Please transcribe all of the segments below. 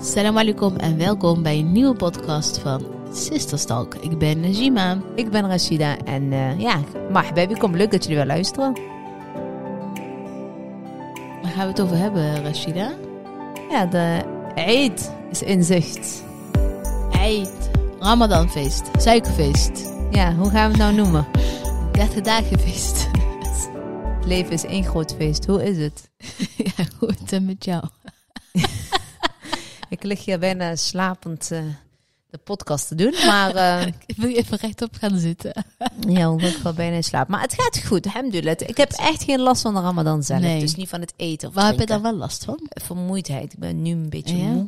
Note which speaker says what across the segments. Speaker 1: Salam alaikum en welkom bij een nieuwe podcast van Sisterstalk. Ik ben Najima.
Speaker 2: Ik ben Rashida en eh, ja, maar kom leuk dat jullie wel luisteren.
Speaker 1: Waar gaan we het over hebben, Rashida?
Speaker 2: Ja, de Eid is in zicht.
Speaker 1: Eid. Ramadanfeest. Suikerfeest.
Speaker 2: Ja, hoe gaan we het nou noemen?
Speaker 1: 30 dagenfeest.
Speaker 2: Het leven is één groot feest, hoe is het?
Speaker 1: ja, goed. En met jou?
Speaker 2: Ik lig hier bijna slapend eh, de podcast te doen, maar eh
Speaker 1: Ik wil je even rechtop gaan zitten.
Speaker 2: ja, ik val bijna in slaap. Maar het gaat goed, alhamdulillah. Ik heb echt geen last van de ramadan zelf,
Speaker 1: Nee.
Speaker 2: dus niet van het eten of
Speaker 1: Waar heb je dan
Speaker 2: drinken.
Speaker 1: wel last van?
Speaker 2: Vermoeidheid, ik ben nu een beetje
Speaker 1: Ja?
Speaker 2: moe.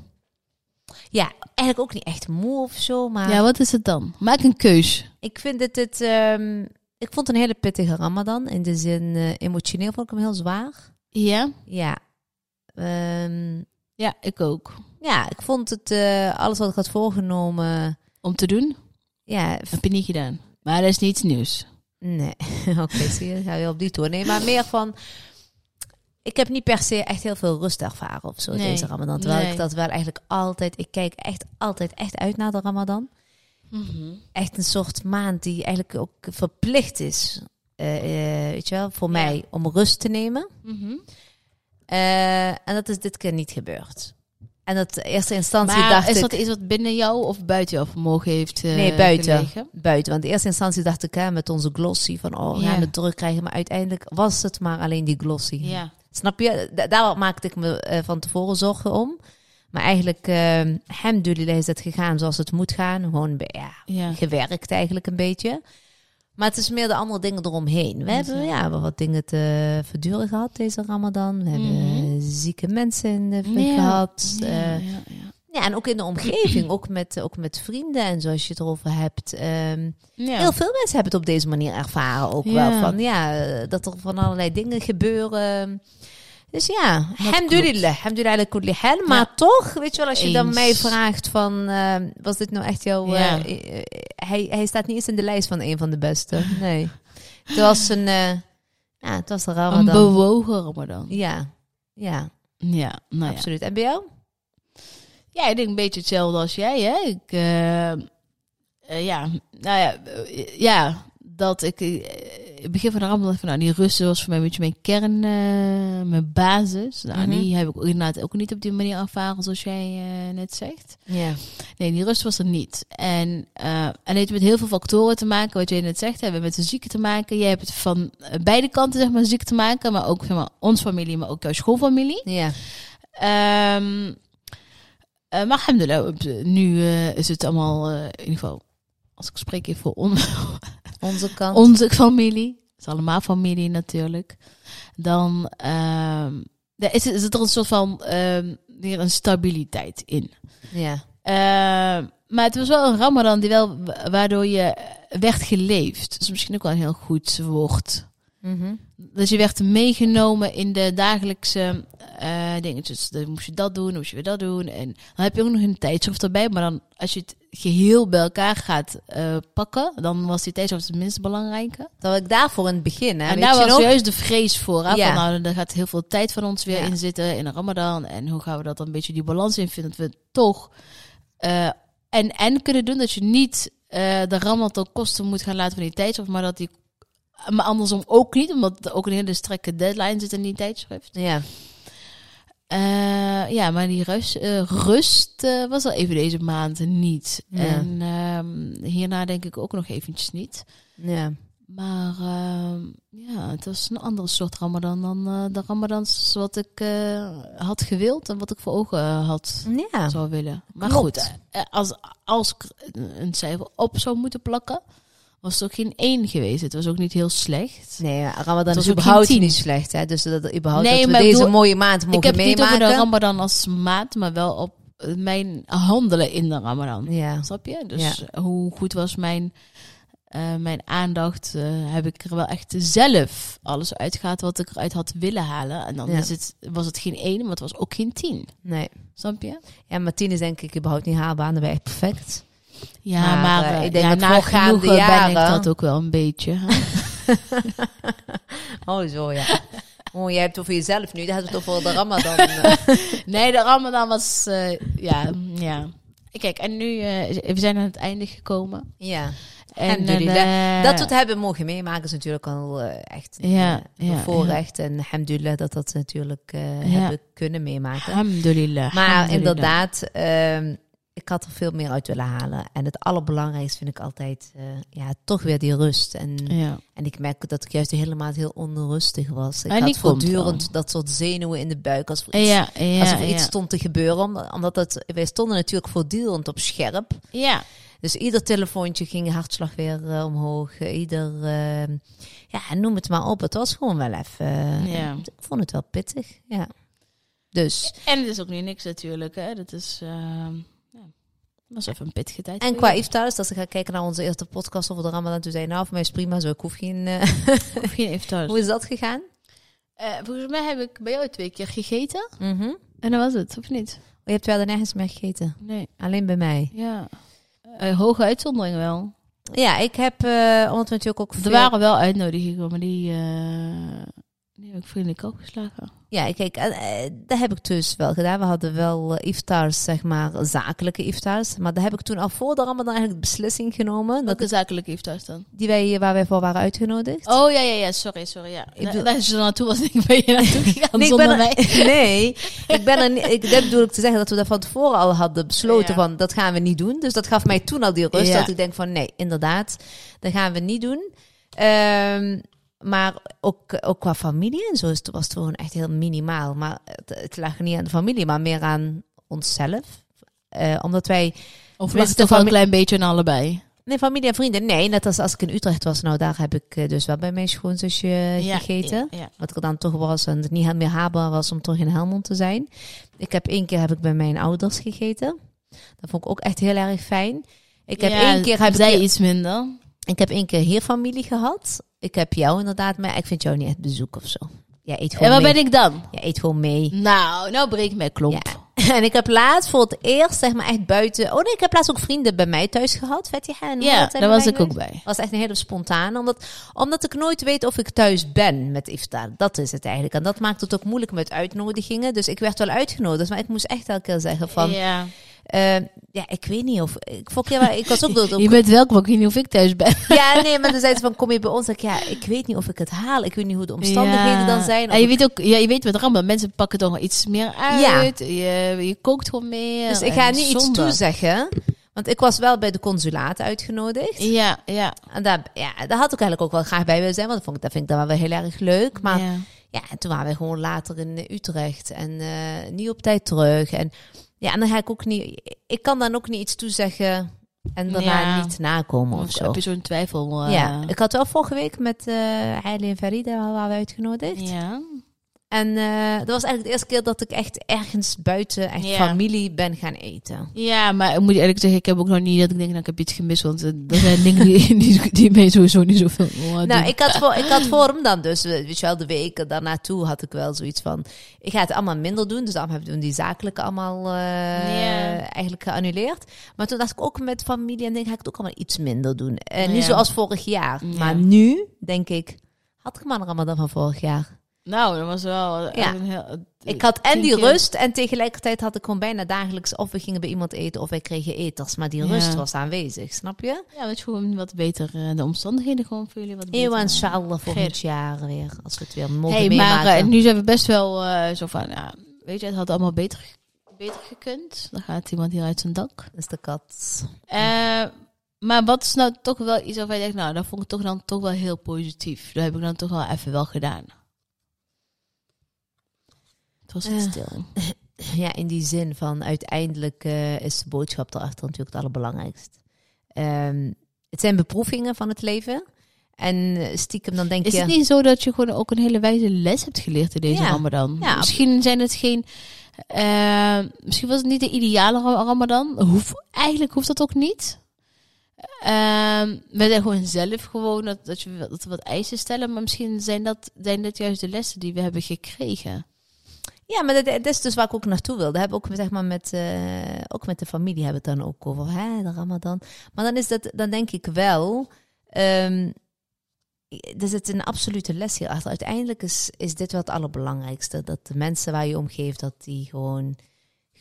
Speaker 2: Ja, eigenlijk ook niet echt moe of zo, maar...
Speaker 1: Ja, wat is het dan? Maak een keus.
Speaker 2: Ik vind dat het. ehm, ik vond een hele pittige Ramadan. In de zin eh, emotioneel vond ik hem heel zwaar.
Speaker 1: Ja?
Speaker 2: Ja. Ehm,
Speaker 1: Ja, ik ook.
Speaker 2: ja, ik vond het. eh, alles wat ik had voorgenomen.
Speaker 1: Om te doen?
Speaker 2: Ja, f-
Speaker 1: Heb je niet gedaan. Maar dat is niets nieuws.
Speaker 2: nee. Oké, zie je. Ga je op die toer. Nee, maar meer van. Ik heb niet per se echt heel veel rust ervaren of zo
Speaker 1: Nee.
Speaker 2: deze Ramadan. Terwijl
Speaker 1: Nee.
Speaker 2: ik dat wel eigenlijk altijd. Ik kijk echt altijd echt uit naar de Ramadan.
Speaker 1: Mhm.
Speaker 2: echt een soort maand die eigenlijk ook verplicht is, eh, eh, weet je wel, voor
Speaker 1: Ja.
Speaker 2: mij om rust te nemen.
Speaker 1: Mhm.
Speaker 2: Eh, en dat is dit keer niet gebeurd. En dat in eerste instantie
Speaker 1: Maar
Speaker 2: dacht
Speaker 1: is
Speaker 2: ik
Speaker 1: dat iets wat binnen jou of buiten jouw vermogen heeft eh,
Speaker 2: Nee, buiten.
Speaker 1: gelegen?
Speaker 2: buiten, want in eerste instantie dacht ik hè, met onze glossy van oh, we
Speaker 1: Ja.
Speaker 2: gaan het terugkrijgen, maar uiteindelijk was het maar alleen die glossy.
Speaker 1: Ja.
Speaker 2: Snap je? Da- daar maakte ik me eh, van tevoren zorgen om. Maar eigenlijk, eh, hem alhamdulillah is het gegaan zoals het moet gaan. Gewoon, be- ja,
Speaker 1: ja.
Speaker 2: gewerkt eigenlijk een beetje. Maar het is meer de andere dingen eromheen. We hebben ja, we hebben wat dingen te verduren gehad deze ramadan. We hebben
Speaker 1: Mhm.
Speaker 2: zieke mensen in de fik
Speaker 1: Ja.
Speaker 2: gehad.
Speaker 1: Ja,
Speaker 2: Eh,
Speaker 1: ja, ja.
Speaker 2: ja, en ook in de omgeving, ook met, ook met vrienden en zoals je het erover hebt. Ehm,
Speaker 1: Ja.
Speaker 2: Heel veel mensen hebben het op deze manier ervaren ook wel.
Speaker 1: Ja.
Speaker 2: Van, ja, eh, dat er van allerlei dingen gebeuren. Dus ja,
Speaker 1: klopt.
Speaker 2: alhamdulillah, alhamdulillah ala kulli hal. Maar
Speaker 1: Ja.
Speaker 2: toch, weet je wel, als je dan
Speaker 1: Eens.
Speaker 2: mij vraagt van... eh, was dit nou echt jouw... eh,
Speaker 1: Ja.
Speaker 2: eh, eh, hij, hij staat niet eens in de lijst van een van de beste. Nee. het was een... eh, ja, het was een
Speaker 1: Een
Speaker 2: ramadan.
Speaker 1: bewogen Ramadan.
Speaker 2: ja, ja,
Speaker 1: Ja, nou ja.
Speaker 2: absoluut. En bij jou?
Speaker 1: Ja, ik denk een beetje hetzelfde als jij, hè. Ik, eh, eh, ja, nou ja, eh, ja, dat ik... eh, het begin van de Ramadan dacht ik van, nou, die rust was voor mij een beetje mijn kern, eh, mijn basis. Nou,
Speaker 2: Mhm.
Speaker 1: die heb ik ook inderdaad ook niet op die manier ervaren zoals jij eh, net zegt.
Speaker 2: Ja.
Speaker 1: Nee, die rust was er niet. En, eh, en het heeft met heel veel factoren te maken, wat jij net zegt. Hebben we met de ziekte te maken. Jij hebt het van eh, beide kanten zeg maar, ziek te maken. Maar ook zeg maar, ons familie, maar ook jouw schoolfamilie.
Speaker 2: Ja.
Speaker 1: Ehm eh, maar alhamdulillah, op de- nu eh, is het allemaal, eh, in ieder geval, als ik spreek even voor on-
Speaker 2: Onze kant.
Speaker 1: onze familie. Het is allemaal familie natuurlijk. Dan ehm, daar is, is er een soort van ehm, weer een stabiliteit in.
Speaker 2: ja.
Speaker 1: Ehm, maar het was wel een ramadan die wel, wa- waardoor je werd geleefd. Dat is misschien ook wel een heel goed woord.
Speaker 2: Mhm.
Speaker 1: Dus je werd meegenomen in de dagelijkse eh, dingetjes. Dan moest je dat doen, dan moest je weer dat doen. En dan heb je ook nog een tijdschrift erbij. Maar dan, als je het geheel bij elkaar gaat eh, pakken, dan was die tijdschrift het minst belangrijke.
Speaker 2: Terwijl ik daarvoor in het begin, hè,
Speaker 1: en
Speaker 2: weet
Speaker 1: daar
Speaker 2: je
Speaker 1: was
Speaker 2: nog?
Speaker 1: juist de vrees voor. Hè?
Speaker 2: Ja.
Speaker 1: Van, nou, daar gaat heel veel tijd van ons weer
Speaker 2: Ja.
Speaker 1: in zitten in de ramadan. En hoe gaan we dat dan een beetje die balans in vinden? Dat we toch eh, en, en kunnen doen dat je niet eh, de ramadan ten kosten moet gaan laten van die tijdschrift. Maar, dat die, maar andersom ook niet, omdat er ook een hele strakke deadline zit in die tijdschrift.
Speaker 2: Ja.
Speaker 1: Eh, ja, maar die rust, eh, rust eh, was al even deze maand niet.
Speaker 2: Ja.
Speaker 1: En ehm, hierna denk ik ook nog eventjes niet.
Speaker 2: Ja.
Speaker 1: Maar ehm, ja, het was een andere soort ramadan dan eh, de ramadans wat ik eh, had gewild en wat ik voor ogen eh, had
Speaker 2: Ja.
Speaker 1: zou willen. Maar
Speaker 2: Klopt.
Speaker 1: goed, eh, als, als ik een cijfer op zou moeten plakken, was het ook geen één geweest. Het was ook niet heel slecht.
Speaker 2: Nee, ja, Ramadan
Speaker 1: Het was
Speaker 2: is
Speaker 1: ook
Speaker 2: überhaupt
Speaker 1: geen tien.
Speaker 2: niet slecht. Hè? Dus dat, überhaupt
Speaker 1: Nee,
Speaker 2: dat we
Speaker 1: maar ik
Speaker 2: deze
Speaker 1: bedoel-
Speaker 2: mooie maand mogen
Speaker 1: ik heb het niet over
Speaker 2: meemaken.
Speaker 1: de ramadan als maat, maar wel op eh, mijn handelen in de ramadan.
Speaker 2: ja.
Speaker 1: Snap je? Dus hoe goed was mijn, eh, mijn aandacht? eh, heb ik er wel echt zelf alles uitgehaald wat ik eruit had willen halen? En dan
Speaker 2: Ja.
Speaker 1: is het, was het geen één, maar het was ook geen tien.
Speaker 2: Nee.
Speaker 1: Snap je?
Speaker 2: Ja, maar tien is denk ik überhaupt niet haalbaar. Dan ben je echt perfect.
Speaker 1: Ja,
Speaker 2: Maar,
Speaker 1: maar,
Speaker 2: eh,
Speaker 1: eh,
Speaker 2: ik denk
Speaker 1: ja,
Speaker 2: dat
Speaker 1: na
Speaker 2: voorgaande
Speaker 1: genoegen ben ik
Speaker 2: jaren-
Speaker 1: dat ook wel een beetje. hè.
Speaker 2: Oh, zo ja. Oh, jij hebt het over jezelf nu. Dan hebben we het over de Ramadan. eh.
Speaker 1: Nee, de Ramadan was. eh, ja, ja. Kijk, en nu. eh, we zijn aan het einde gekomen.
Speaker 2: ja.
Speaker 1: En,
Speaker 2: Alhamdulillah.
Speaker 1: eh,
Speaker 2: dat we het hebben mogen meemaken is natuurlijk al eh, echt een
Speaker 1: Ja,
Speaker 2: eh,
Speaker 1: ja,
Speaker 2: voorrecht. En alhamdulillah dat dat ze natuurlijk eh,
Speaker 1: Ja.
Speaker 2: hebben kunnen meemaken.
Speaker 1: Alhamdulillah.
Speaker 2: Maar
Speaker 1: alhamdulillah.
Speaker 2: inderdaad, ehm, ik had er veel meer uit willen halen. En het allerbelangrijkste vind ik altijd eh, ja, toch weer die rust. En,
Speaker 1: Ja.
Speaker 2: en ik merk dat ik juist de hele maand heel onrustig was.
Speaker 1: En
Speaker 2: Ik
Speaker 1: die
Speaker 2: had
Speaker 1: komt
Speaker 2: voortdurend dat soort zenuwen in de buik. Als er iets,
Speaker 1: oh. Ja, ja,
Speaker 2: alsof er
Speaker 1: ja.
Speaker 2: iets stond te gebeuren. Om- Omdat het, wij stonden natuurlijk voortdurend op scherp.
Speaker 1: ja.
Speaker 2: Dus ieder telefoontje ging je hartslag weer eh, omhoog. Eh, ieder, eh, ja, noem het maar op. Het was gewoon wel even. eh,
Speaker 1: Ja.
Speaker 2: Ik vond het wel pittig. Ja. Dus.
Speaker 1: En het is ook nu niks natuurlijk. Hè. Dat is. ehm ja. was even een pittige tijd.
Speaker 2: En
Speaker 1: voor
Speaker 2: qua
Speaker 1: jullie.
Speaker 2: iftar, dus als ik ga kijken naar onze eerste podcast over de Ramadan, toen zei hij, nou, voor mij is prima zo, ik hoef geen... eh,
Speaker 1: Of geen iftar.
Speaker 2: Hoe is dat gegaan?
Speaker 1: Eh, volgens mij heb ik bij jou twee keer gegeten.
Speaker 2: Mhm.
Speaker 1: En dat was het, of niet?
Speaker 2: Oh, Je hebt wel er nergens meer gegeten.
Speaker 1: Nee.
Speaker 2: Alleen bij mij.
Speaker 1: Ja. Eh, hoge uitzondering wel.
Speaker 2: Ja, ik heb, eh omdat we natuurlijk ook
Speaker 1: Er
Speaker 2: veel...
Speaker 1: waren wel uitnodigingen, maar die, eh, die heb ik vriendelijk opgeslagen.
Speaker 2: Ja, kijk, eh, eh, dat heb ik dus wel gedaan. We hadden wel eh, iftars, zeg maar, zakelijke iftars. Maar daar heb ik toen al voor de Ramadan eigenlijk beslissing genomen. Dat
Speaker 1: Welke zakelijke iftars dan?
Speaker 2: die wij, waar wij voor waren uitgenodigd.
Speaker 1: Oh ja, ja, ja, sorry, sorry. Ja.
Speaker 2: Ik
Speaker 1: Ik
Speaker 2: bedoel-
Speaker 1: bedoel... je er naartoe was, denk ik, ben je naartoe gegaan
Speaker 2: Nee, ik
Speaker 1: zonder
Speaker 2: ben er-
Speaker 1: mij.
Speaker 2: nee, ik ben er niet. Ik, dat bedoel ik te zeggen dat we dat van tevoren al hadden besloten
Speaker 1: Ja.
Speaker 2: van dat gaan we niet doen. Dus dat gaf mij toen al die rust
Speaker 1: Ja.
Speaker 2: dat ik denk van nee, inderdaad, dat gaan we niet doen. Ehm, maar ook, ook qua familie en zo is het- was het gewoon echt heel minimaal. Maar het, het lag niet aan de familie, maar meer aan onszelf. Eh, omdat wij
Speaker 1: Of lag
Speaker 2: Tenminste,
Speaker 1: het toch wel een
Speaker 2: fami-
Speaker 1: klein beetje aan allebei?
Speaker 2: Nee, familie en vrienden. Nee, net als als ik in Utrecht was. Nou, daar heb ik eh, dus wel bij mijn schoonzusje eh, gegeten.
Speaker 1: Ja, ja.
Speaker 2: Wat ik er dan toch was en het niet meer haalbaar was om toch in Helmond te zijn. Ik heb één keer heb ik bij mijn ouders gegeten. Dat vond ik ook echt heel erg fijn. Ik heb
Speaker 1: Ja,
Speaker 2: één keer heb
Speaker 1: zij
Speaker 2: ik,
Speaker 1: iets minder.
Speaker 2: ik heb één keer hier familie gehad. Ik heb jou inderdaad, maar ik vind jou niet echt bezoek of zo. Jij eet
Speaker 1: En
Speaker 2: gewoon
Speaker 1: waar
Speaker 2: mee.
Speaker 1: ben ik dan?
Speaker 2: Jij eet gewoon mee.
Speaker 1: Nou, nou breek ik mijn klomp.
Speaker 2: En ik heb laatst voor het eerst, zeg maar, echt buiten... Oh nee, ik heb laatst ook vrienden bij mij thuis gehad. Fatiha en
Speaker 1: Ja,
Speaker 2: Murat hebben
Speaker 1: daar was
Speaker 2: wij
Speaker 1: ik ook
Speaker 2: geweest.
Speaker 1: bij.
Speaker 2: was echt een hele spontane. Omdat, omdat ik nooit weet of ik thuis ben met iftar. Dat is het eigenlijk. En dat maakt het ook moeilijk met uitnodigingen. Dus ik werd wel uitgenodigd. Maar ik moest echt elke keer zeggen van... eh,
Speaker 1: ja.
Speaker 2: Ja, ik weet niet of... Ik, vond, ja, maar ik was ook dood.
Speaker 1: Je bent welkom, ik weet niet of ik thuis ben.
Speaker 2: Ja, nee, maar dan zei ze van... Kom je bij ons? Dan Zeg ik, ja, ik weet niet of ik het haal. Ik weet niet hoe de omstandigheden
Speaker 1: Ja.
Speaker 2: dan zijn. Of
Speaker 1: En je
Speaker 2: ik-
Speaker 1: weet ook, ja, je weet met Ramba, mensen pakken toch wel iets meer uit. Je, je kookt gewoon meer.
Speaker 2: dus ik ga
Speaker 1: En
Speaker 2: nu iets
Speaker 1: zonde.
Speaker 2: toezeggen. Want ik was wel bij de consulaten uitgenodigd.
Speaker 1: Ja, ja.
Speaker 2: En daar, ja, daar had ik eigenlijk ook wel graag bij willen zijn. Want dat, vond ik, dat vind ik dan wel weer heel erg leuk. Maar
Speaker 1: ja.
Speaker 2: Ja, en toen waren we gewoon later in eh, Utrecht en eh, niet op tijd terug. En ja, en dan ga ik ook niet, ik kan dan ook niet iets toezeggen en daarna
Speaker 1: Ja.
Speaker 2: niet nakomen of
Speaker 1: Of
Speaker 2: zo.
Speaker 1: heb je zo'n twijfel? eh,
Speaker 2: Ja, ik had wel vorige week met eh Heidi en Farida waren we uitgenodigd.
Speaker 1: ja.
Speaker 2: En eh, dat was eigenlijk de eerste keer dat ik echt ergens buiten echt
Speaker 1: Ja.
Speaker 2: familie ben gaan eten.
Speaker 1: Ja, maar ik moet eerlijk zeggen, ik heb ook nog niet dat ik denk, nou, ik heb iets gemist. Want eh, er zijn dingen die, die, die mij sowieso niet zoveel oh,
Speaker 2: Nou, ik had, voor, ik had voor hem dan dus, eh, weet je wel, de weken daarnaartoe had ik wel zoiets van... Ik ga het allemaal minder doen, dus daarom hebben we die zakelijke allemaal eh,
Speaker 1: Ja.
Speaker 2: eigenlijk geannuleerd. Maar toen dacht ik ook met familie en denk ga ik het ook allemaal iets minder doen. En niet
Speaker 1: Ja.
Speaker 2: zoals vorig jaar.
Speaker 1: Ja.
Speaker 2: Maar nu, denk ik, had ik maar een ramadan van vorig jaar.
Speaker 1: nou, dat was wel echt
Speaker 2: Ja.
Speaker 1: een heel...
Speaker 2: Ik had en
Speaker 1: tien
Speaker 2: die
Speaker 1: keer-
Speaker 2: rust en tegelijkertijd had ik gewoon bijna dagelijks... Of we gingen bij iemand eten of wij kregen eters, maar die
Speaker 1: Ja.
Speaker 2: rust was aanwezig, snap je?
Speaker 1: Ja, dat je gewoon wat beter, eh, de omstandigheden gewoon voor jullie wat beter. eh,
Speaker 2: Eeuwen inshallah volgend
Speaker 1: Geert.
Speaker 2: jaar weer, als we het weer mogen
Speaker 1: hey, maar
Speaker 2: meemaken.
Speaker 1: eh, nu zijn we best wel eh, zo van, ja, weet je, het had allemaal beter, ge- beter gekund. Dan gaat iemand hier uit zijn dak.
Speaker 2: Dat is de kat.
Speaker 1: Eh, maar wat is nou toch wel iets waarvan je denkt, nou, dat vond ik toch dan toch wel heel positief. Dat heb ik dan toch wel even wel gedaan. Het was
Speaker 2: Eh.
Speaker 1: niet stil.
Speaker 2: Ja, in die zin van uiteindelijk eh, is de boodschap erachter natuurlijk het allerbelangrijkst. Ehm, het zijn beproevingen van het leven. En eh, stiekem dan denk
Speaker 1: Is
Speaker 2: je...
Speaker 1: het niet zo dat je gewoon ook een hele wijze les hebt geleerd in deze
Speaker 2: Ja,
Speaker 1: Ramadan?
Speaker 2: ja.
Speaker 1: Misschien zijn het geen. eh, misschien was het niet de ideale Ra- Ramadan. Hoef, eigenlijk hoeft dat ook niet. Ehm, we zijn gewoon zelf gewoon dat, dat, je, dat we wat eisen stellen. Maar misschien zijn dat, zijn dat juist de lessen die we hebben gekregen.
Speaker 2: Ja, maar dat, dat is dus waar ik ook naartoe wil. Daar heb ik ook, zeg maar, met, eh, ook met de familie hebben we het dan ook over. Hè, de Ramadan. Maar dan, is dat, dan denk ik wel... ehm, er zit een absolute les hier achter. Uiteindelijk is, is dit wel het allerbelangrijkste. Dat de mensen waar je omgeeft, dat die gewoon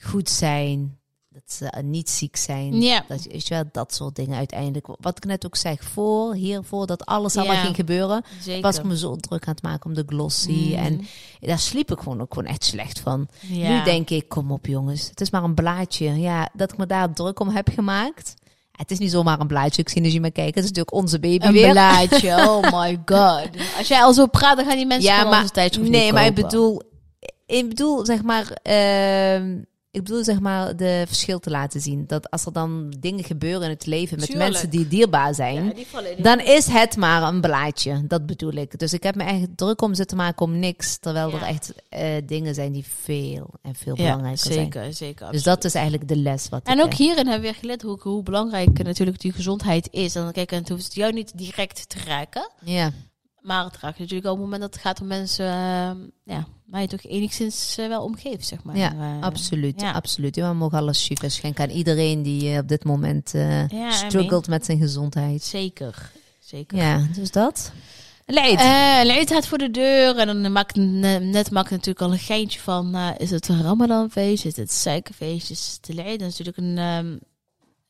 Speaker 2: goed zijn. Dat ze eh, niet ziek zijn.
Speaker 1: Ja.
Speaker 2: Dat, je- weet je wel, dat soort dingen uiteindelijk. Wat ik net ook zei, voor, hiervoor, dat alles allemaal
Speaker 1: Ja.
Speaker 2: ging gebeuren.
Speaker 1: Zeker. Mhm.
Speaker 2: Was ik me zo druk aan het maken om de glossy. En daar sliep ik gewoon ook gewoon echt slecht van.
Speaker 1: Ja.
Speaker 2: Nu denk ik, kom op jongens, het is maar een blaadje. Ja, dat ik me daar druk om heb gemaakt. Het is niet zomaar een blaadje, ik zie dat je me kijken. Het is natuurlijk onze baby
Speaker 1: een
Speaker 2: weer.
Speaker 1: blaadje, oh my god. Als jij al zo praat, dan gaan die mensen
Speaker 2: ja,
Speaker 1: gewoon
Speaker 2: maar,
Speaker 1: onze tijdschrift
Speaker 2: nee,
Speaker 1: niet
Speaker 2: maar ik
Speaker 1: kopen.
Speaker 2: bedoel, ik bedoel zeg maar, ehm, ik bedoel zeg maar de verschil te laten zien. Dat als er dan dingen gebeuren in het leven met
Speaker 1: Tuurlijk.
Speaker 2: mensen die dierbaar zijn,
Speaker 1: Ja, die vallen in.
Speaker 2: dan is het maar een blaadje. Dat bedoel ik. Dus ik heb me echt druk om zitten maken om niks, terwijl
Speaker 1: Ja.
Speaker 2: er echt eh, dingen zijn die veel en veel
Speaker 1: ja,
Speaker 2: belangrijker zijn.
Speaker 1: zeker, zeker.
Speaker 2: Dus dat is eigenlijk de les wat
Speaker 1: En
Speaker 2: ik
Speaker 1: ook
Speaker 2: heb.
Speaker 1: hierin hebben we weer geleerd hoe, hoe belangrijk eh, natuurlijk die gezondheid is. En dan kijk, het hoeft jou niet direct te raken.
Speaker 2: Ja,
Speaker 1: Maar het raakt natuurlijk op het moment dat het gaat om mensen eh, ja, waar je toch enigszins eh, wel omgeeft, zeg maar.
Speaker 2: ja
Speaker 1: Eh,
Speaker 2: absoluut.
Speaker 1: ja.
Speaker 2: absoluut. Ja, we mogen alles chiffres schenken aan iedereen die eh, op dit moment eh
Speaker 1: Ja, I
Speaker 2: struggelt met zijn gezondheid.
Speaker 1: Zeker, zeker.
Speaker 2: Ja, dus dat. Leid.
Speaker 1: Eh, Leid staat voor de deur en dan maakt ne- net maakt natuurlijk al een geintje van eh, is het een Ramadanfeest, is het suikerfeest, is het Leid? Dat is natuurlijk een ehm,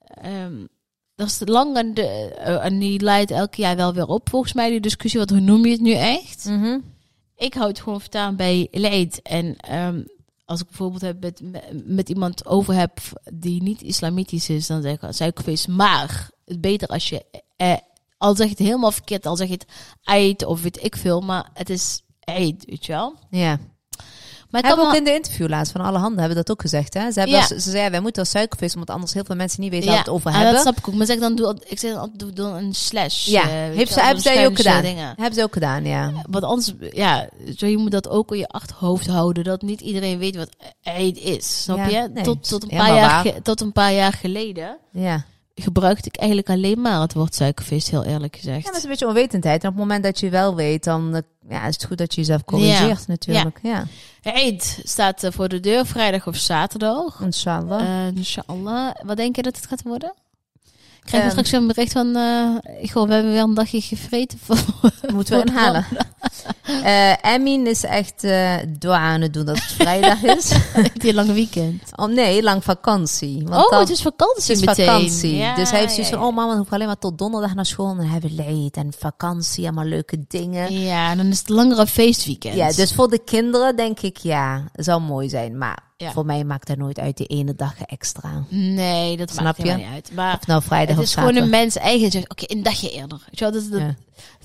Speaker 1: ehm, dat is lang en, de, eh, en die leidt elk jaar wel weer op volgens mij die discussie. Wat hoe noem je het nu echt?
Speaker 2: Mhm.
Speaker 1: Ik hou het gewoon vertaan bij leed en ehm, als ik bijvoorbeeld heb met, me- met iemand over heb die niet islamitisch is, dan zeg ik al suikerfeest. Maar het beter als je eh, al zeg je het helemaal verkeerd, al zeg je het eid of weet ik veel, maar het is eid, weet je wel.
Speaker 2: Ja.
Speaker 1: Maar ik kan
Speaker 2: Hebben we ook
Speaker 1: wel-
Speaker 2: in de interview laatst van alle handen hebben dat ook gezegd. Hè? Ze, hebben
Speaker 1: Ja.
Speaker 2: wel- ze zeiden, wij moeten wel suikervis, omdat anders heel veel mensen niet weten
Speaker 1: ja,
Speaker 2: waar we het over
Speaker 1: ah,
Speaker 2: hebben.
Speaker 1: dat snap ik ook. Maar zeg dan doe al- ik zeg dan altijd, doe dan een slash.
Speaker 2: Ja,
Speaker 1: eh, weet je
Speaker 2: heeft ze,
Speaker 1: wel,
Speaker 2: hebben
Speaker 1: dan
Speaker 2: zij ook
Speaker 1: schuin
Speaker 2: gedaan.
Speaker 1: zo dingen.
Speaker 2: Hebben ze ook gedaan, ja.
Speaker 1: Want anders, ja, zo je moet dat ook in je achterhoofd houden. Dat niet iedereen weet wat eid is. Snap
Speaker 2: Ja,
Speaker 1: je?
Speaker 2: nee,
Speaker 1: tot, tot, een
Speaker 2: helemaal
Speaker 1: paar jaar,
Speaker 2: waar.
Speaker 1: ge- tot een paar jaar geleden
Speaker 2: Ja.
Speaker 1: gebruikte ik eigenlijk alleen maar het woord suikerfeest, heel eerlijk gezegd.
Speaker 2: Ja, dat is een beetje onwetendheid. En op het moment dat je wel weet, dan eh, ja, is het goed dat je jezelf corrigeert natuurlijk. Ja.
Speaker 1: Eid staat eh, voor de deur vrijdag of zaterdag.
Speaker 2: Inshallah.
Speaker 1: Eh, inshallah. Wat denk je dat het gaat worden? Ik krijg
Speaker 2: Ehm.
Speaker 1: ik straks een bericht van... eh goh, we hebben weer een dagje gevreten. Voor...
Speaker 2: Moeten we inhalen. Eh Emin is echt eh dua aan het doen dat het vrijdag is.
Speaker 1: Die lange weekend.
Speaker 2: oh nee, lang vakantie. Want
Speaker 1: oh,
Speaker 2: dan-
Speaker 1: het is vakantie
Speaker 2: Het is
Speaker 1: meteen.
Speaker 2: vakantie.
Speaker 1: Ja,
Speaker 2: dus hij
Speaker 1: ja,
Speaker 2: heeft zoiets van,
Speaker 1: ja.
Speaker 2: oh mama, dan hoef ik alleen maar tot donderdag naar school. En dan hebben we leed en vakantie, allemaal leuke dingen.
Speaker 1: Ja, en dan is het een langere feestweekend.
Speaker 2: Ja, dus voor de kinderen denk ik, ja, zou mooi zijn. Maar
Speaker 1: Ja.
Speaker 2: voor mij maakt dat nooit uit, die ene dag extra.
Speaker 1: Nee, dat
Speaker 2: Snap
Speaker 1: maakt
Speaker 2: je?
Speaker 1: helemaal niet uit. Maar
Speaker 2: Of nou vrijdag
Speaker 1: het
Speaker 2: of
Speaker 1: is gewoon een
Speaker 2: zaterdag.
Speaker 1: mens eigen. Je zegt, Oké, een dagje eerder. Weet je wel, dat is dat,
Speaker 2: Ja.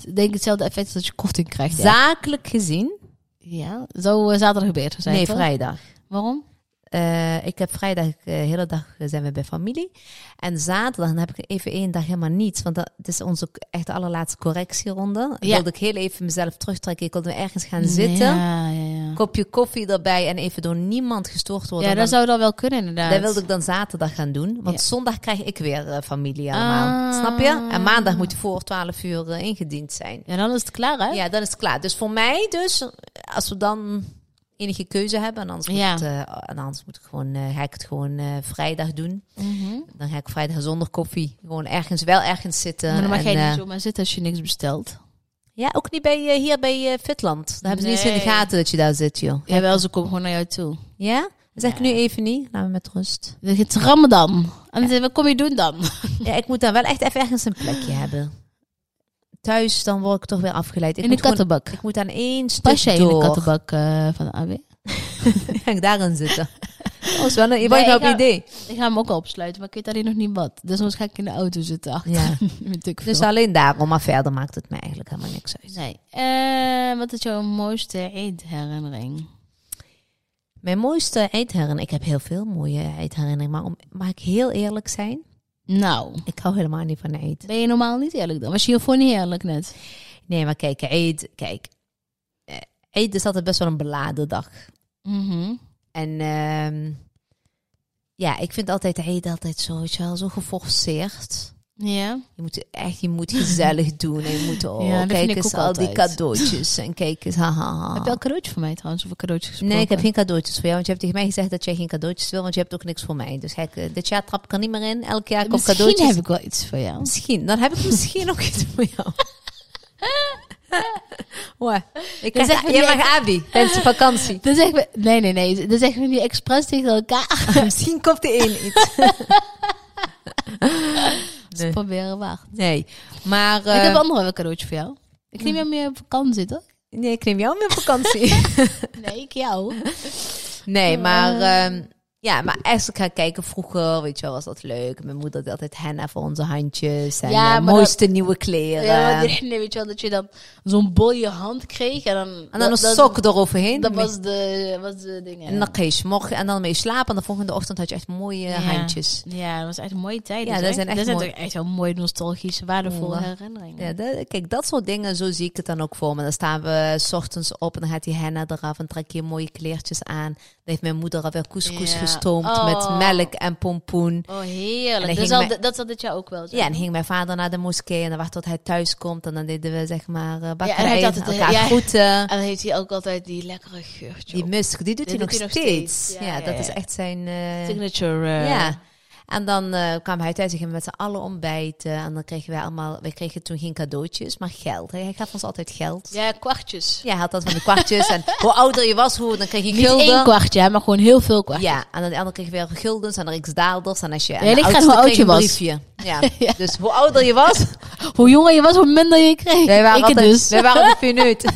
Speaker 1: ik denk hetzelfde effect als dat je korting krijgt. Ja,
Speaker 2: Zakelijk gezien?
Speaker 1: ja. zou eh, zaterdag gebeurd zijn,
Speaker 2: nee,
Speaker 1: toch?
Speaker 2: vrijdag.
Speaker 1: Waarom?
Speaker 2: Eh, ik heb vrijdag, eh, de hele dag eh, zijn we bij familie. En zaterdag dan heb ik even één dag helemaal niets. Want dat het is onze k- echt allerlaatste correctieronde.
Speaker 1: Ja.
Speaker 2: Wilde ik heel even mezelf terugtrekken. Ik wilde ergens gaan zitten.
Speaker 1: Ja, ja, ja.
Speaker 2: kopje koffie erbij en even door niemand gestoord worden.
Speaker 1: Ja, dat
Speaker 2: Dan-
Speaker 1: zou dan wel kunnen inderdaad.
Speaker 2: dat wilde ik dan zaterdag gaan doen. Want
Speaker 1: Ja.
Speaker 2: zondag krijg ik weer eh, familie allemaal.
Speaker 1: Ah.
Speaker 2: Snap je? En maandag moet voor 12 uur eh, ingediend zijn.
Speaker 1: Ja, dan is het klaar hè?
Speaker 2: Ja, dan is het klaar. Dus voor mij dus, eh, als we dan enige keuze hebben, en anders,
Speaker 1: Ja.
Speaker 2: moet, eh, en anders moet ik gewoon, eh, ga ik het gewoon eh, vrijdag doen.
Speaker 1: Mhm.
Speaker 2: Dan ga ik vrijdag zonder koffie gewoon ergens, wel ergens zitten.
Speaker 1: Maar dan mag
Speaker 2: En,
Speaker 1: jij
Speaker 2: eh,
Speaker 1: niet zomaar zitten als je niks bestelt.
Speaker 2: Ja, ook niet bij, eh, hier bij eh, Fitland. Daar hebben ze niet eens in de
Speaker 1: Nee.
Speaker 2: gaten dat je daar zit, joh.
Speaker 1: Jawel, ze komen gewoon naar jou toe.
Speaker 2: Ja? Dan zeg ik nu even niet. Laat me met rust.
Speaker 1: Dan gaat het Ramadan. En dan zeg je, wat kom je doen dan?
Speaker 2: Ja, ik moet dan wel echt even ergens een plekje hebben. Thuis, dan word ik toch weer afgeleid. Ik
Speaker 1: in de
Speaker 2: moet gewoon-
Speaker 1: kattenbak.
Speaker 2: ik moet aan één stuk
Speaker 1: Pas jij in de
Speaker 2: door.
Speaker 1: kattenbak eh, van de AB?
Speaker 2: Ga ik daarin zitten. Dat is wel een, je bent
Speaker 1: Nee,
Speaker 2: wel
Speaker 1: ik
Speaker 2: een
Speaker 1: ga-
Speaker 2: idee.
Speaker 1: Ik ga hem ook al opsluiten, maar ik weet alleen nog niet wat. Dus soms ga ik in de auto zitten achter.
Speaker 2: Ja.
Speaker 1: Weet ik
Speaker 2: Dus
Speaker 1: veel.
Speaker 2: alleen daarom, maar verder maakt het me eigenlijk helemaal niks uit.
Speaker 1: Nee. Eh, wat is jouw mooiste eidherinnering?
Speaker 2: Mijn mooiste eindherinnering, ik heb heel veel mooie eindherinneringen, maar om, mag ik heel eerlijk zijn?
Speaker 1: Nou,
Speaker 2: Ik hou helemaal niet van eet.
Speaker 1: ben je normaal niet eerlijk dan? Was je hiervoor niet eerlijk net?
Speaker 2: Nee, maar kijk, eet, kijk. Eh, Eet is altijd best wel een beladen dag.
Speaker 1: Mhm.
Speaker 2: En ehm, ja, ik vind altijd eet altijd zo, weet je wel, zo geforceerd.
Speaker 1: Ja.
Speaker 2: Je moet echt, je moet gezellig doen. En je moet, oh,
Speaker 1: Ja, dat vind
Speaker 2: kijk
Speaker 1: ik
Speaker 2: eens
Speaker 1: ook
Speaker 2: al die
Speaker 1: altijd.
Speaker 2: cadeautjes. En kijk eens, haha.
Speaker 1: Heb je al cadeautje voor mij trouwens? Over cadeautjes gesproken?
Speaker 2: Nee, ik heb geen cadeautjes voor jou. Want je hebt tegen mij gezegd dat jij geen cadeautjes wil. Want je hebt ook niks voor mij. Dus gek, eh, dit jaar trap ik er niet meer in. Elk jaar komt
Speaker 1: Eh, Misschien
Speaker 2: cadeautjes.
Speaker 1: heb ik wel iets voor jou.
Speaker 2: Misschien. Dan heb ik misschien ook iets voor jou. Wow. Ik
Speaker 1: Je
Speaker 2: krijg,
Speaker 1: zegt me
Speaker 2: je
Speaker 1: niet
Speaker 2: mag Abi tijdens de vakantie.
Speaker 1: Dan zeggen we, nee, nee, nee. Dan zeggen we niet expres tegen elkaar.
Speaker 2: Misschien komt de een iets.
Speaker 1: Ze proberen waar.
Speaker 2: Nee, maar...
Speaker 1: ik
Speaker 2: eh,
Speaker 1: heb een ander cadeautje voor jou. Ik neem jou meer op vakantie, toch?
Speaker 2: Nee, ik neem jou mee op vakantie.
Speaker 1: Nee, ik jou.
Speaker 2: nee, maar... ehm, ja, maar echt, ik ga kijken vroeger, weet je wel, was dat leuk. Mijn moeder deed altijd henna voor onze handjes. En
Speaker 1: Ja,
Speaker 2: eh,
Speaker 1: maar dat-
Speaker 2: mooiste nieuwe kleren.
Speaker 1: Ja, want iedereen weet je wel dat je dan zo'n bol in je hand kreeg. En dan,
Speaker 2: en dan een
Speaker 1: dat, dat-
Speaker 2: sok eroverheen.
Speaker 1: Dat was de, was de ding. ja.
Speaker 2: En dan ging je 's morgen- en dan mee slapen. En de volgende ochtend had je echt mooie
Speaker 1: Ja.
Speaker 2: handjes.
Speaker 1: Ja, dat was echt een mooie tijd.
Speaker 2: Ja,
Speaker 1: Dus
Speaker 2: dat
Speaker 1: echt-
Speaker 2: zijn echt
Speaker 1: dat
Speaker 2: mooi-
Speaker 1: toch echt wel mooie, nostalgische, waardevolle
Speaker 2: Ja.
Speaker 1: herinneringen.
Speaker 2: Ja, dat- kijk, dat soort dingen, zo zie ik het dan ook voor me. Dan staan we 's ochtends op en dan gaat die henna eraf en trek je mooie kleertjes aan. Dan heeft mijn moeder alweer couscous
Speaker 1: Ja.
Speaker 2: gestoomd
Speaker 1: Oh.
Speaker 2: met melk en pompoen.
Speaker 1: Oh,
Speaker 2: En
Speaker 1: heerlijk.
Speaker 2: dan
Speaker 1: Dat
Speaker 2: ging
Speaker 1: zal,
Speaker 2: mijn-
Speaker 1: dit- dat zal dit jaar ook wel zo.
Speaker 2: Ja, en ging mijn vader naar de moskee en dan wacht tot hij thuis komt. En dan deden we zeg maar eh
Speaker 1: hij
Speaker 2: bakkerij,
Speaker 1: had altijd-
Speaker 2: elkaar
Speaker 1: ja.
Speaker 2: groeten.
Speaker 1: En dan heeft hij ook altijd die lekkere geurtje.
Speaker 2: Die
Speaker 1: op.
Speaker 2: musk, die doet
Speaker 1: Dit
Speaker 2: hij nog
Speaker 1: doet hij nog
Speaker 2: steeds.
Speaker 1: steeds.
Speaker 2: Ja,
Speaker 1: Ja,
Speaker 2: dat
Speaker 1: ja,
Speaker 2: is
Speaker 1: ja.
Speaker 2: echt zijn... eh,
Speaker 1: signature. eh,
Speaker 2: Ja. En dan eh, kwam hij thuis en gingen we met z'n allen ontbijten. En dan kregen wij allemaal... Wij kregen toen geen cadeautjes, maar geld. Hij, hij gaf ons altijd geld.
Speaker 1: ja, kwartjes.
Speaker 2: Ja, hij had dat van de kwartjes. en hoe ouder je was, hoe dan kreeg je
Speaker 1: Niet één
Speaker 2: gulden.
Speaker 1: kwartje, hè, maar gewoon heel veel kwartjes.
Speaker 2: Ja, en dan de andere kreeg je weer guldens en riksdaalders. En als je
Speaker 1: ligt
Speaker 2: en de
Speaker 1: aan hoe
Speaker 2: oudste
Speaker 1: oud je
Speaker 2: kreeg een
Speaker 1: was.
Speaker 2: briefje. Ja. Dus hoe ouder je was,
Speaker 1: Hoe jonger je was, hoe minder je kreeg.
Speaker 2: wij waren,
Speaker 1: ik het
Speaker 2: altijd-
Speaker 1: dus.
Speaker 2: wij waren de pineut.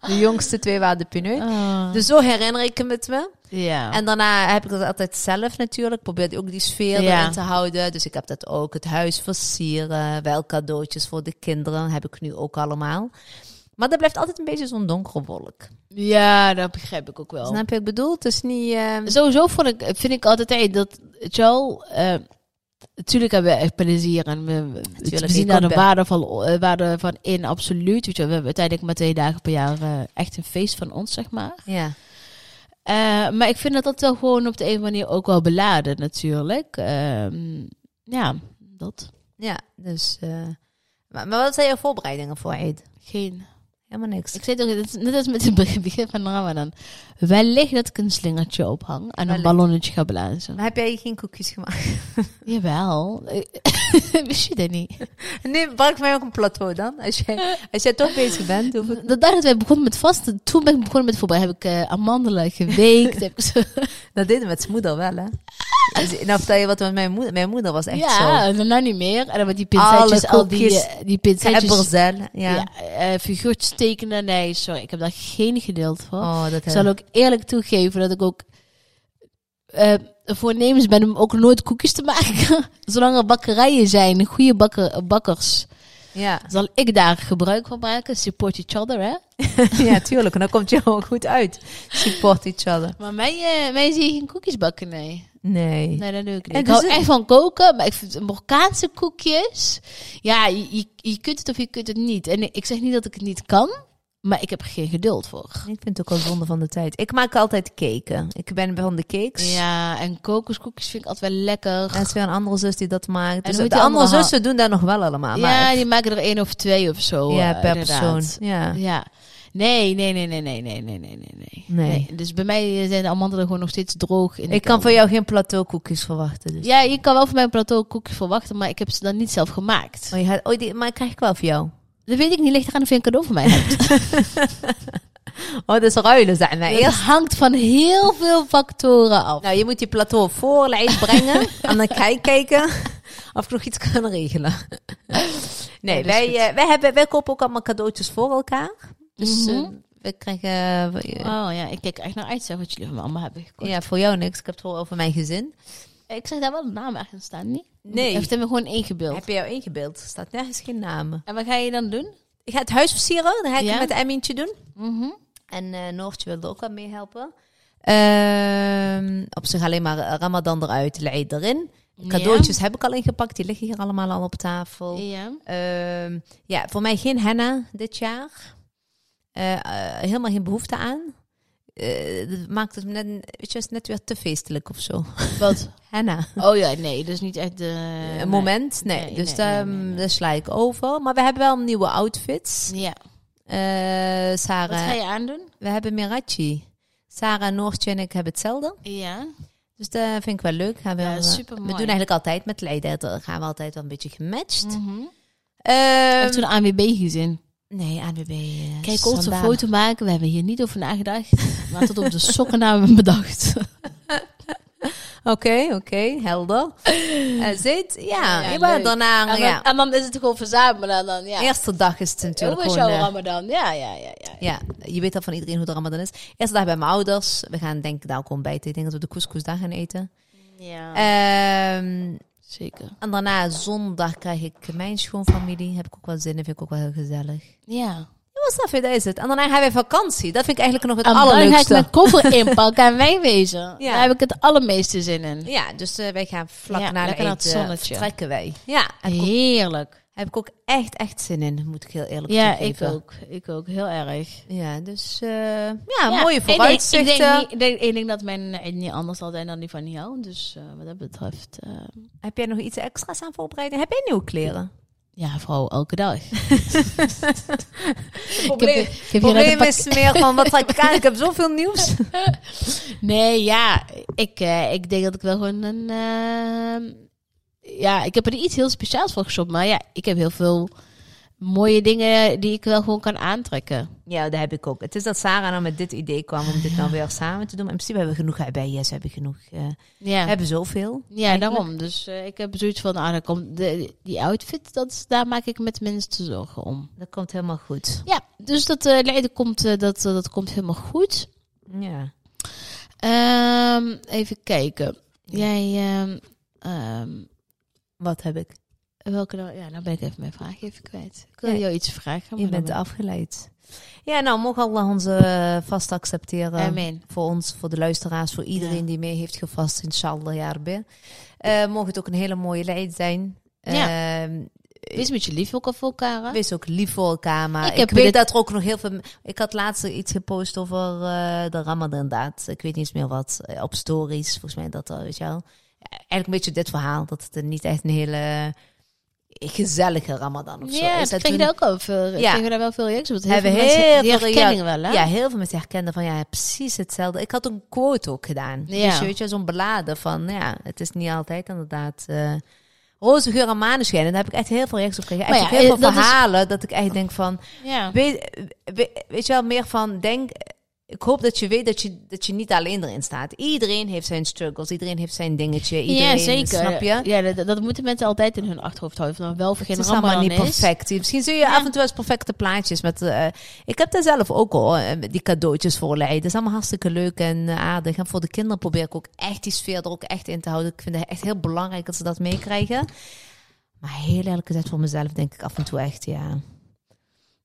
Speaker 2: De jongste twee waren de pineut.
Speaker 1: Ah,
Speaker 2: Dus zo herinner ik hem het me.
Speaker 1: ja.
Speaker 2: En daarna heb ik dat altijd zelf natuurlijk. Probeerde ook die sfeer
Speaker 1: Ja.
Speaker 2: erin te houden. Dus ik heb dat ook. Het huis versieren. Wel cadeautjes voor de kinderen. Heb ik nu ook allemaal. Maar dat blijft altijd een beetje zo'n donkere wolk.
Speaker 1: ja, dat begrijp ik ook wel.
Speaker 2: Snap je wat ik bedoel? Het is niet... eh,
Speaker 1: Sowieso vond ik, vind ik altijd hey, dat Charles. eh natuurlijk hebben we echt plezier en we- we, we
Speaker 2: je
Speaker 1: zien daar de
Speaker 2: komt
Speaker 1: waarde van, eh, waarde van in, absoluut. Weet je, wel. we hebben uiteindelijk maar twee dagen per jaar eh, echt een feest van ons, zeg maar.
Speaker 2: ja.
Speaker 1: Eh, maar ik vind dat dat wel gewoon op de een of andere manier ook wel beladen, natuurlijk. Ehm, ja, dat.
Speaker 2: Ja, dus. eh, maar, maar wat zijn jouw voorbereidingen voor Eid?
Speaker 1: Geen.
Speaker 2: Helemaal niks.
Speaker 1: Ik zei toch, het is net als met het be- begin van de Ramadan. Wellicht dat ik een slingertje ophang en een
Speaker 2: Wellicht.
Speaker 1: ballonnetje ga blazen.
Speaker 2: Maar heb jij geen koekjes gemaakt?
Speaker 1: Jawel. Wist je dat niet?
Speaker 2: Nee, pak mij ook een plateau dan. Als jij, als jij toch bezig bent, hoef ik...
Speaker 1: Dat dag dat wij begonnen met vasten, toen ben ik begonnen met voetbal. Heb ik eh, amandelen geweekt. heb ik zo-
Speaker 2: Dat deden we met zijn moeder wel, hè? Dus, nou, vertel je wat, want mijn moeder, mijn moeder was echt
Speaker 1: ja,
Speaker 2: zo.
Speaker 1: en daarna niet meer. En dan met die pincetjes,
Speaker 2: Alle
Speaker 1: al die,
Speaker 2: koekjes.
Speaker 1: eh, die pincetjes.
Speaker 2: Ebberzel, ja.
Speaker 1: Ja, eh, figuurtjes tekenen. Nee, sorry, ik heb daar geen geduld voor.
Speaker 2: Oh, dat
Speaker 1: Ik zal ook eerlijk toegeven dat ik ook eh, voornemens ben om ook nooit koekjes te maken. Zolang er bakkerijen zijn, goede bakker, bakkers,
Speaker 2: Ja.
Speaker 1: zal ik daar gebruik van maken. Support each other, hè?
Speaker 2: ja, tuurlijk. En dan komt je ook goed uit. Support each other.
Speaker 1: Maar mij, eh, mij zie je geen koekjes bakken, nee.
Speaker 2: Nee.
Speaker 1: Nee, dat doe ik niet.
Speaker 2: En
Speaker 1: ik
Speaker 2: dus
Speaker 1: hou
Speaker 2: het-
Speaker 1: echt van koken, maar ik vind Marokkaanse koekjes... Ja, je, je, je kunt het of je kunt het niet. En ik zeg niet dat ik het niet kan, maar ik heb er geen geduld voor.
Speaker 2: Ik vind het ook wel zonde van de tijd. Ik maak altijd cake. Ik ben van de cakes.
Speaker 1: Ja, en kokoskoekjes vind ik altijd wel lekker.
Speaker 2: Er is weer een andere zus die dat maakt.
Speaker 1: En
Speaker 2: Dus
Speaker 1: hoe
Speaker 2: de
Speaker 1: heet die
Speaker 2: andere
Speaker 1: andere ha-
Speaker 2: zussen doen dat nog wel allemaal. maar
Speaker 1: ja, die maken er één of twee of zo.
Speaker 2: ja,
Speaker 1: eh,
Speaker 2: per
Speaker 1: inderdaad.
Speaker 2: persoon. Ja.
Speaker 1: Ja. Nee, nee, nee, nee, nee, nee, nee, nee, nee, nee.
Speaker 2: Nee.
Speaker 1: Dus bij mij zijn de amandelen gewoon nog steeds droog. In de
Speaker 2: Ik kan
Speaker 1: kelder.
Speaker 2: van jou geen plateaukoekjes verwachten. Dus.
Speaker 1: Ja, je kan wel van mijn plateau koekjes verwachten, maar ik heb ze dan niet zelf gemaakt.
Speaker 2: Oh, je gaat, oh, die, maar krijg ik wel van jou.
Speaker 1: Dat weet ik niet, ligt eraan of je een cadeau van mij hebt.
Speaker 2: Oh, dat is ruilen, zeg maar.
Speaker 1: Het
Speaker 2: Eerst,
Speaker 1: hangt van heel veel factoren af.
Speaker 2: nou, je moet die plateau voor Leid brengen. en dan ga ik kijken of ik nog iets kan regelen. nee,
Speaker 1: dat is
Speaker 2: wij,
Speaker 1: goed.
Speaker 2: eh, wij, hebben, wij kopen ook allemaal cadeautjes voor elkaar. Dus eh,
Speaker 1: Mhm.
Speaker 2: we krijgen... eh, we-
Speaker 1: Oh ja, ik kijk er echt naar uit, zeg wat jullie van me allemaal hebben gekocht.
Speaker 2: ja, voor jou niks. Ik heb het voor over mijn gezin.
Speaker 1: Ik zeg daar wel een naam ergens staan, niet?
Speaker 2: Nee.
Speaker 1: Heeft hem er gewoon ingebeeld.
Speaker 2: Heb je jou ingebeeld? Er staat nergens geen namen.
Speaker 1: En wat ga je dan doen?
Speaker 2: Ik ga het huis versieren. Dan ga ik
Speaker 1: Ja?
Speaker 2: het met Emmintje doen.
Speaker 1: Mhm.
Speaker 2: En eh Noortje wilde ook wel meehelpen. Ehm, op zich alleen maar eh, Ramadan eruit, Leid erin. Cadeautjes heb ik al ingepakt, die liggen hier allemaal al op tafel.
Speaker 1: Ja.
Speaker 2: Ehm, ja, voor mij geen henna dit jaar. Eh, eh, helemaal geen behoefte aan. Eh, dat maakt het net, weet je, is net weer te feestelijk of zo.
Speaker 1: Wat?
Speaker 2: Henna.
Speaker 1: Oh ja, nee, dus niet echt de...
Speaker 2: Een moment? Nee.
Speaker 1: Nee, nee,
Speaker 2: dus
Speaker 1: nee,
Speaker 2: daar,
Speaker 1: nee, nee.
Speaker 2: daar sla ik over. Maar we hebben wel nieuwe outfits.
Speaker 1: Ja.
Speaker 2: Eh,
Speaker 1: Wat ga
Speaker 2: Sarah,
Speaker 1: je aandoen?
Speaker 2: we hebben Mirachi. Sarah, Noortje en ik hebben hetzelfde.
Speaker 1: Ja.
Speaker 2: Dus dat vind ik wel leuk. Gaan we,
Speaker 1: Ja,
Speaker 2: eh,
Speaker 1: supermooi.
Speaker 2: we doen eigenlijk altijd
Speaker 1: Mm.
Speaker 2: met Leiden. Dan gaan we altijd wel een beetje gematcht.
Speaker 1: Mhm.
Speaker 2: Ehm,
Speaker 1: Heeft toen een ANWB gezin.
Speaker 2: Nee, ANWB. eh,
Speaker 1: Kijk, ons een
Speaker 2: Sandalen.
Speaker 1: foto maken. We hebben hier niet over nagedacht. Maar tot op de sokken namen bedacht.
Speaker 2: Oké, oké, helder. Eh zit, ja,
Speaker 1: Ja,
Speaker 2: ik ben
Speaker 1: leuk.
Speaker 2: daarna,
Speaker 1: En,
Speaker 2: ja.
Speaker 1: dan, en dan is het gewoon verzamelen. Dan, ja. Oh,
Speaker 2: Eerste dag is het natuurlijk
Speaker 1: Hoe is
Speaker 2: gewoon...
Speaker 1: jouw
Speaker 2: eh,
Speaker 1: ramadan? Ja, ja, ja. ja.
Speaker 2: ja, je weet al van iedereen hoe de ramadan is. Eerste dag bij mijn ouders. We gaan denk ik daar ook ontbijten. Ik denk dat we de couscous daar gaan eten.
Speaker 1: ja.
Speaker 2: Ehm,
Speaker 1: zeker.
Speaker 2: en daarna zondag krijg ik mijn schoonfamilie. Heb ik ook wel zin in. Vind ik ook wel heel gezellig.
Speaker 1: Ja.
Speaker 2: Ja, wat snap je, dat is het. En daarna hebben we vakantie. Dat vind ik eigenlijk nog
Speaker 1: En
Speaker 2: het
Speaker 1: dan ga ik
Speaker 2: allerleukste.
Speaker 1: mijn koffer inpakken en wegwezen.
Speaker 2: Ja.
Speaker 1: Daar heb ik het allermeeste zin in.
Speaker 2: Ja, dus eh, wij gaan vlak
Speaker 1: Ja,
Speaker 2: na de
Speaker 1: lekker naar het
Speaker 2: eten
Speaker 1: zonnetje.
Speaker 2: vertrekken wij. Ja, heb, ik ook,
Speaker 1: Heerlijk.
Speaker 2: heb ik ook echt, echt zin in. Moet ik heel eerlijk
Speaker 1: Ja, ik
Speaker 2: toegeven.
Speaker 1: ook. Ik ook. Heel erg.
Speaker 2: Ja, dus eh, ja,
Speaker 1: Ja,
Speaker 2: mooie
Speaker 1: ik denk-
Speaker 2: vooruitzichten.
Speaker 1: Ik denk, niet- ik, denk, ik denk dat mijn Eid niet anders zal zijn dan die van jou. Dus eh, wat dat betreft... eh,
Speaker 2: Heb jij nog iets extra's aan voorbereiding? Heb jij nieuwe kleren?
Speaker 1: ja, vrouw, elke dag.
Speaker 2: probleem-
Speaker 1: ik heb, ik heb hier net een
Speaker 2: probleem
Speaker 1: pak-
Speaker 2: is meer van, wat trek ik aan? Ik heb zoveel nieuws.
Speaker 1: Nee, ja, ik, eh, ik denk dat ik wel gewoon een. ehm, ja, ik heb er iets heel speciaals voor geshopt. Maar ja, ik heb heel veel mooie dingen die ik wel gewoon kan aantrekken.
Speaker 2: Ja, dat heb ik ook. Het is dat Sarah nou met dit idee kwam om dit nou weer samen te doen. Maar in principe hebben we genoeg bij Yes, hebben we genoeg. eh,
Speaker 1: Ja,
Speaker 2: Hebben zoveel.
Speaker 1: ja daarom. Dus eh, ik heb zoiets van, ah, dan komt de, die outfit, dat, is- daar maak ik me het minste zorgen om.
Speaker 2: Dat komt helemaal goed.
Speaker 1: Ja, dus dat eh, Leiden komt, eh, dat, dat komt helemaal goed.
Speaker 2: Ja.
Speaker 1: Ehm, even kijken. Jij, ehm, ehm,
Speaker 2: Wat heb ik?
Speaker 1: welke dan? Ja, nou ben ik even mijn vraag even kwijt. Ik wil
Speaker 2: Ja.
Speaker 1: jou iets vragen. maar
Speaker 2: Je
Speaker 1: dan
Speaker 2: bent
Speaker 1: ben ik-
Speaker 2: afgeleid. Ja, nou, mogen Allah ons eh, vast accepteren.
Speaker 1: Amen.
Speaker 2: Voor ons, voor de luisteraars, voor iedereen
Speaker 1: Ja.
Speaker 2: die mee heeft gevast, inshallah, ja, Rabbi. Eh Mocht het ook een hele mooie leid zijn.
Speaker 1: Ja.
Speaker 2: Ehm,
Speaker 1: Wees met je lief ook al voor elkaar. hè?
Speaker 2: Wees ook lief voor elkaar, maar
Speaker 1: Ik
Speaker 2: ik,
Speaker 1: heb
Speaker 2: weet
Speaker 1: dit-
Speaker 2: dat er ook nog heel veel... Ik had laatst iets gepost over eh, de ramadan daad. Ik weet niet eens meer wat. Eh, op stories, volgens mij dat al, weet je wel. Eh, Eigenlijk een beetje dit verhaal, dat het een- niet echt een hele gezellige ramadan of zo
Speaker 1: Ja,
Speaker 2: is.
Speaker 1: dat
Speaker 2: En
Speaker 1: kreeg je
Speaker 2: toen
Speaker 1: daar ook al veel.
Speaker 2: Ja.
Speaker 1: Kregen we daar wel veel reacties op.
Speaker 2: hebben
Speaker 1: mensen
Speaker 2: heel
Speaker 1: die
Speaker 2: veel
Speaker 1: herkenning
Speaker 2: reac-
Speaker 1: wel, hè?
Speaker 2: Ja, heel veel mensen herkenden van ja, precies hetzelfde. Ik had een quote ook gedaan.
Speaker 1: Ja.
Speaker 2: Dus je weet je, zo'n beladen van ja, het is niet altijd inderdaad. eh roze geur en maneschijn. En daar heb ik echt heel veel reacties op gekregen. Echt
Speaker 1: Maar ja,
Speaker 2: ook heel
Speaker 1: eh,
Speaker 2: veel
Speaker 1: dat is-
Speaker 2: verhalen dat ik echt denk van
Speaker 1: Ja.
Speaker 2: Weet, we- weet je wel, meer van denk. Ik hoop dat je weet dat je, dat je niet alleen erin staat. Iedereen heeft zijn struggles, iedereen heeft zijn dingetje. Iedereen, eh,
Speaker 1: ja, zeker.
Speaker 2: Snap je?
Speaker 1: Ja, dat, dat moeten mensen altijd in hun achterhoofd houden. Of nou wel of geen
Speaker 2: Het is
Speaker 1: Ramadan
Speaker 2: allemaal niet
Speaker 1: is.
Speaker 2: perfect. Misschien zie je af en toe eens perfecte plaatjes. Met, eh, ik heb daar zelf ook al eh, die cadeautjes voor leiden. Dat is allemaal hartstikke leuk en eh, aardig. En voor de kinderen probeer ik ook echt die sfeer er ook echt in te houden. Ik vind het echt heel belangrijk dat ze dat meekrijgen. Maar heel eerlijk gezegd voor mezelf denk ik af en toe echt, ja.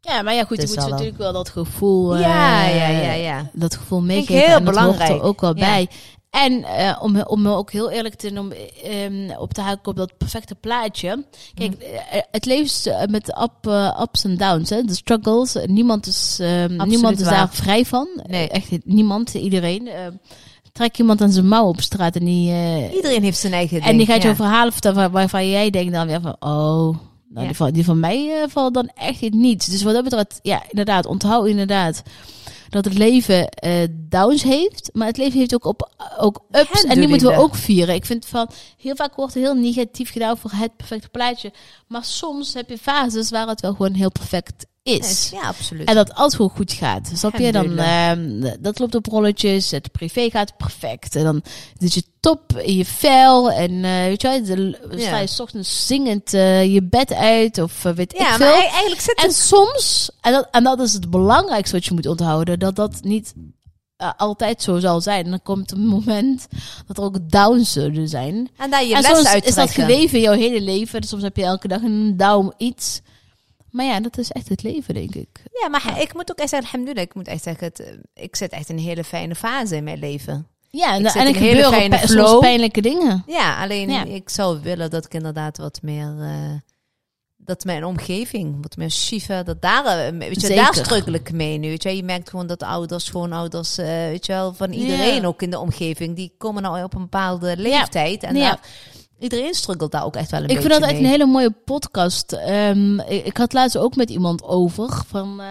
Speaker 1: Ja, maar ja, goed. Je
Speaker 2: Het is
Speaker 1: moet
Speaker 2: al
Speaker 1: ze
Speaker 2: wel.
Speaker 1: natuurlijk wel dat gevoel... eh,
Speaker 2: ja, ja, ja, ja.
Speaker 1: Dat gevoel
Speaker 2: ik
Speaker 1: meegeven.
Speaker 2: heel
Speaker 1: en dat hoort
Speaker 2: belangrijk.
Speaker 1: er ook wel
Speaker 2: Ja.
Speaker 1: bij. En eh, om, om me ook heel eerlijk te doen, om, ehm, op te haken op dat perfecte plaatje. Kijk,
Speaker 2: Mhm.
Speaker 1: eh, het leven is eh, met up, eh, ups en downs, hè. de struggles. Niemand is, ehm, niemand is
Speaker 2: waar.
Speaker 1: daar vrij van. Eh,
Speaker 2: Nee.
Speaker 1: Echt niemand, iedereen. Ehm, trek iemand aan zijn mouw op straat en die, eh,
Speaker 2: Iedereen heeft zijn eigen
Speaker 1: en die
Speaker 2: ding,
Speaker 1: gaat
Speaker 2: ja.
Speaker 1: jou verhalen vertellen waar- waarvan jij denkt dan weer van, oh... Nou,
Speaker 2: Ja.
Speaker 1: die, van, die van mij eh, valt dan echt in niets. Dus wat dat betreft, ja, inderdaad, onthoud inderdaad dat het leven eh, downs heeft. Maar het leven heeft ook, op, ook ups. En die
Speaker 2: Alhamdulillah.
Speaker 1: moeten we ook vieren. Ik vind van, heel vaak wordt er heel negatief gedaan voor het perfecte plaatje. Maar soms heb je fases waar het wel gewoon heel perfect is.
Speaker 2: Ja, absoluut.
Speaker 1: En dat alles gewoon goed gaat. Dus Snap je? Dan,
Speaker 2: Alhamdulillah.
Speaker 1: ehm, dat loopt op rolletjes. Het privé gaat perfect. En dan zit je top in je vel. En eh, weet je wel, de-
Speaker 2: Ja.
Speaker 1: sta je 's ochtends zingend eh, je bed uit. Of eh, weet
Speaker 2: ja,
Speaker 1: ik veel.
Speaker 2: maar e- eigenlijk zit
Speaker 1: En
Speaker 2: het...
Speaker 1: soms, en dat, en dat is het belangrijkste wat je moet onthouden, dat dat niet eh, altijd zo zal zijn. En dan komt een moment dat er ook downs zullen zijn.
Speaker 2: En daar je
Speaker 1: en
Speaker 2: les
Speaker 1: soms
Speaker 2: uittrekken.
Speaker 1: is dat geweven jouw hele leven. Dus Soms heb je elke dag een down iets. Maar ja, dat is echt het leven, denk ik.
Speaker 2: Ja, maar ik moet ook echt zeggen, alhamdulillah, ik moet echt zeggen, het, eh, ik zit echt een hele fijne fase in mijn leven.
Speaker 1: Ja, en,
Speaker 2: Ik
Speaker 1: en,
Speaker 2: zit in
Speaker 1: er
Speaker 2: een hele
Speaker 1: gebeuren ook
Speaker 2: fijne
Speaker 1: pijn-
Speaker 2: flow.
Speaker 1: soms pijnlijke dingen.
Speaker 2: Ja, alleen
Speaker 1: Ja.
Speaker 2: ik zou willen dat ik inderdaad wat meer, eh, dat mijn omgeving, wat meer shiva, dat daar, eh, weet je,
Speaker 1: Zeker.
Speaker 2: daar struggle ik mee nu. Weet je, je merkt gewoon dat ouders, schoonouders, eh, weet je wel, van iedereen
Speaker 1: Ja.
Speaker 2: ook in de omgeving, die komen nou op een bepaalde leeftijd. En
Speaker 1: Nou Ja.
Speaker 2: daar- nou, iedereen struggelt daar ook echt wel een
Speaker 1: Ik
Speaker 2: beetje
Speaker 1: vind dat echt een
Speaker 2: mee.
Speaker 1: hele mooie podcast. Ehm, ik, ik had laatst ook met iemand over. Van, eh,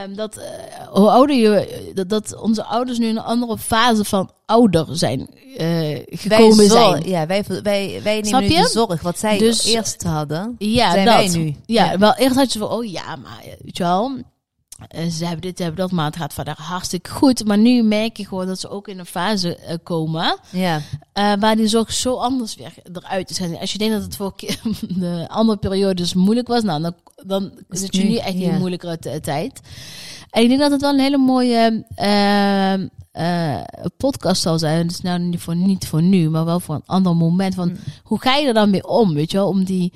Speaker 1: Ehm, dat, eh, hoe ouder je, dat, dat onze ouders nu in een andere fase van ouder zijn eh, gekomen
Speaker 2: wij zor-
Speaker 1: zijn.
Speaker 2: Ja, wij, wij, wij nemen
Speaker 1: Snap
Speaker 2: nu
Speaker 1: je?
Speaker 2: de zorg wat zij
Speaker 1: Dus-
Speaker 2: eerst hadden.
Speaker 1: Ja,
Speaker 2: zijn
Speaker 1: dat.
Speaker 2: wij nu.
Speaker 1: Ja,
Speaker 2: Ja.
Speaker 1: wel eerst had je van, oh ja, maar eh, weet je wel, eh, ze hebben dit, ze hebben dat, maar het gaat verder hartstikke goed. Maar nu merk je gewoon dat ze ook in een fase eh, komen
Speaker 2: Ja,
Speaker 1: eh, waar die zorg zo anders weer eruit is. En als je denkt dat het voor ki- de andere periodes moeilijk was, nou, dan, dan
Speaker 2: Is
Speaker 1: zit
Speaker 2: het
Speaker 1: je nu
Speaker 2: nu,
Speaker 1: echt in
Speaker 2: ja.
Speaker 1: een moeilijkere t- eh, tijd. En ik denk dat het wel een hele mooie ehm, eh, podcast zal zijn. Dus nou niet voor, niet voor nu, maar wel voor een ander moment. Van, Hoe ga je er dan mee om, weet je wel? Om die...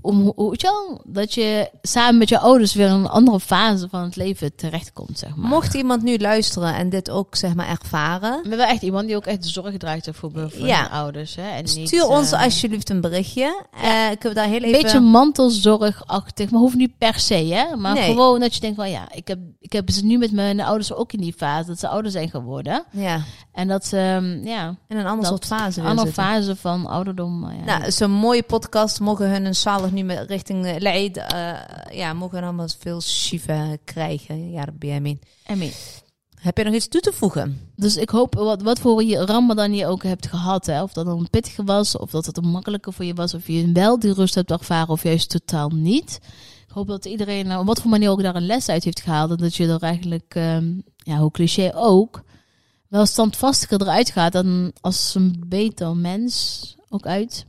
Speaker 1: Om, hoe- weet je wel, dat je samen met je ouders weer in een andere fase van het leven terechtkomt, zeg maar.
Speaker 2: mocht iemand nu luisteren en dit ook zeg maar ervaren,
Speaker 1: We hebben echt iemand die ook echt zorg draagt voor, voor
Speaker 2: Ja.
Speaker 1: hun ouders. Hè? En niet,
Speaker 2: stuur ons
Speaker 1: eh,
Speaker 2: alsjeblieft een berichtje. Eh ik heb daar heel
Speaker 1: Een
Speaker 2: even...
Speaker 1: beetje mantelzorgachtig, maar hoeft niet per se, hè? Maar
Speaker 2: Nee.
Speaker 1: gewoon dat je denkt van ja, ik heb, ik heb ze nu met mijn ouders ook in die fase dat ze ouder zijn geworden.
Speaker 2: Ja,
Speaker 1: En dat ze, ehm, ja,
Speaker 2: in een ander
Speaker 1: Dat-
Speaker 2: soort fase
Speaker 1: een
Speaker 2: willen
Speaker 1: andere
Speaker 2: zitten.
Speaker 1: fase van ouderdom. eh, Ja.
Speaker 2: Nou, het is een mooie podcast. Mogen hun een zalig nu met richting eh, Leid. eh, ja, mogen hun allemaal veel shiva krijgen. Ja, Rabbi Amin.
Speaker 1: I mean,
Speaker 2: Heb je nog iets toe te voegen?
Speaker 1: Dus ik hoop, wat, wat voor je ramadan je ook hebt gehad, hè? of dat het een pittige was, of dat het een makkelijke voor je was, of je wel die rust hebt ervaren, of juist totaal niet. Ik hoop dat iedereen, nou, op wat voor manier ook daar een les uit heeft gehaald, en dat je er eigenlijk, ehm, ja, hoe cliché ook, wel standvastiger eruit gaat dan als een beter mens ook uit.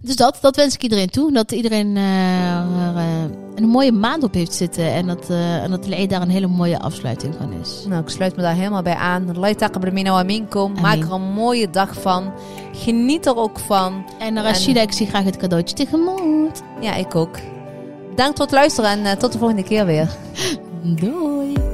Speaker 1: Dus dat, dat wens ik iedereen toe. Dat iedereen eh, er eh, een mooie maand op heeft zitten. En dat, eh en dat de Eid daar een hele mooie afsluiting van is.
Speaker 2: Nou, ik sluit me daar helemaal bij aan. Allah taqabbal minna wa minkum. Maak er een mooie dag van. Geniet er ook van.
Speaker 1: En Rashida, ik zie graag het cadeautje tegemoet.
Speaker 2: Ja, ik ook. Dank tot luisteren en eh, tot de volgende keer weer.
Speaker 1: Doei.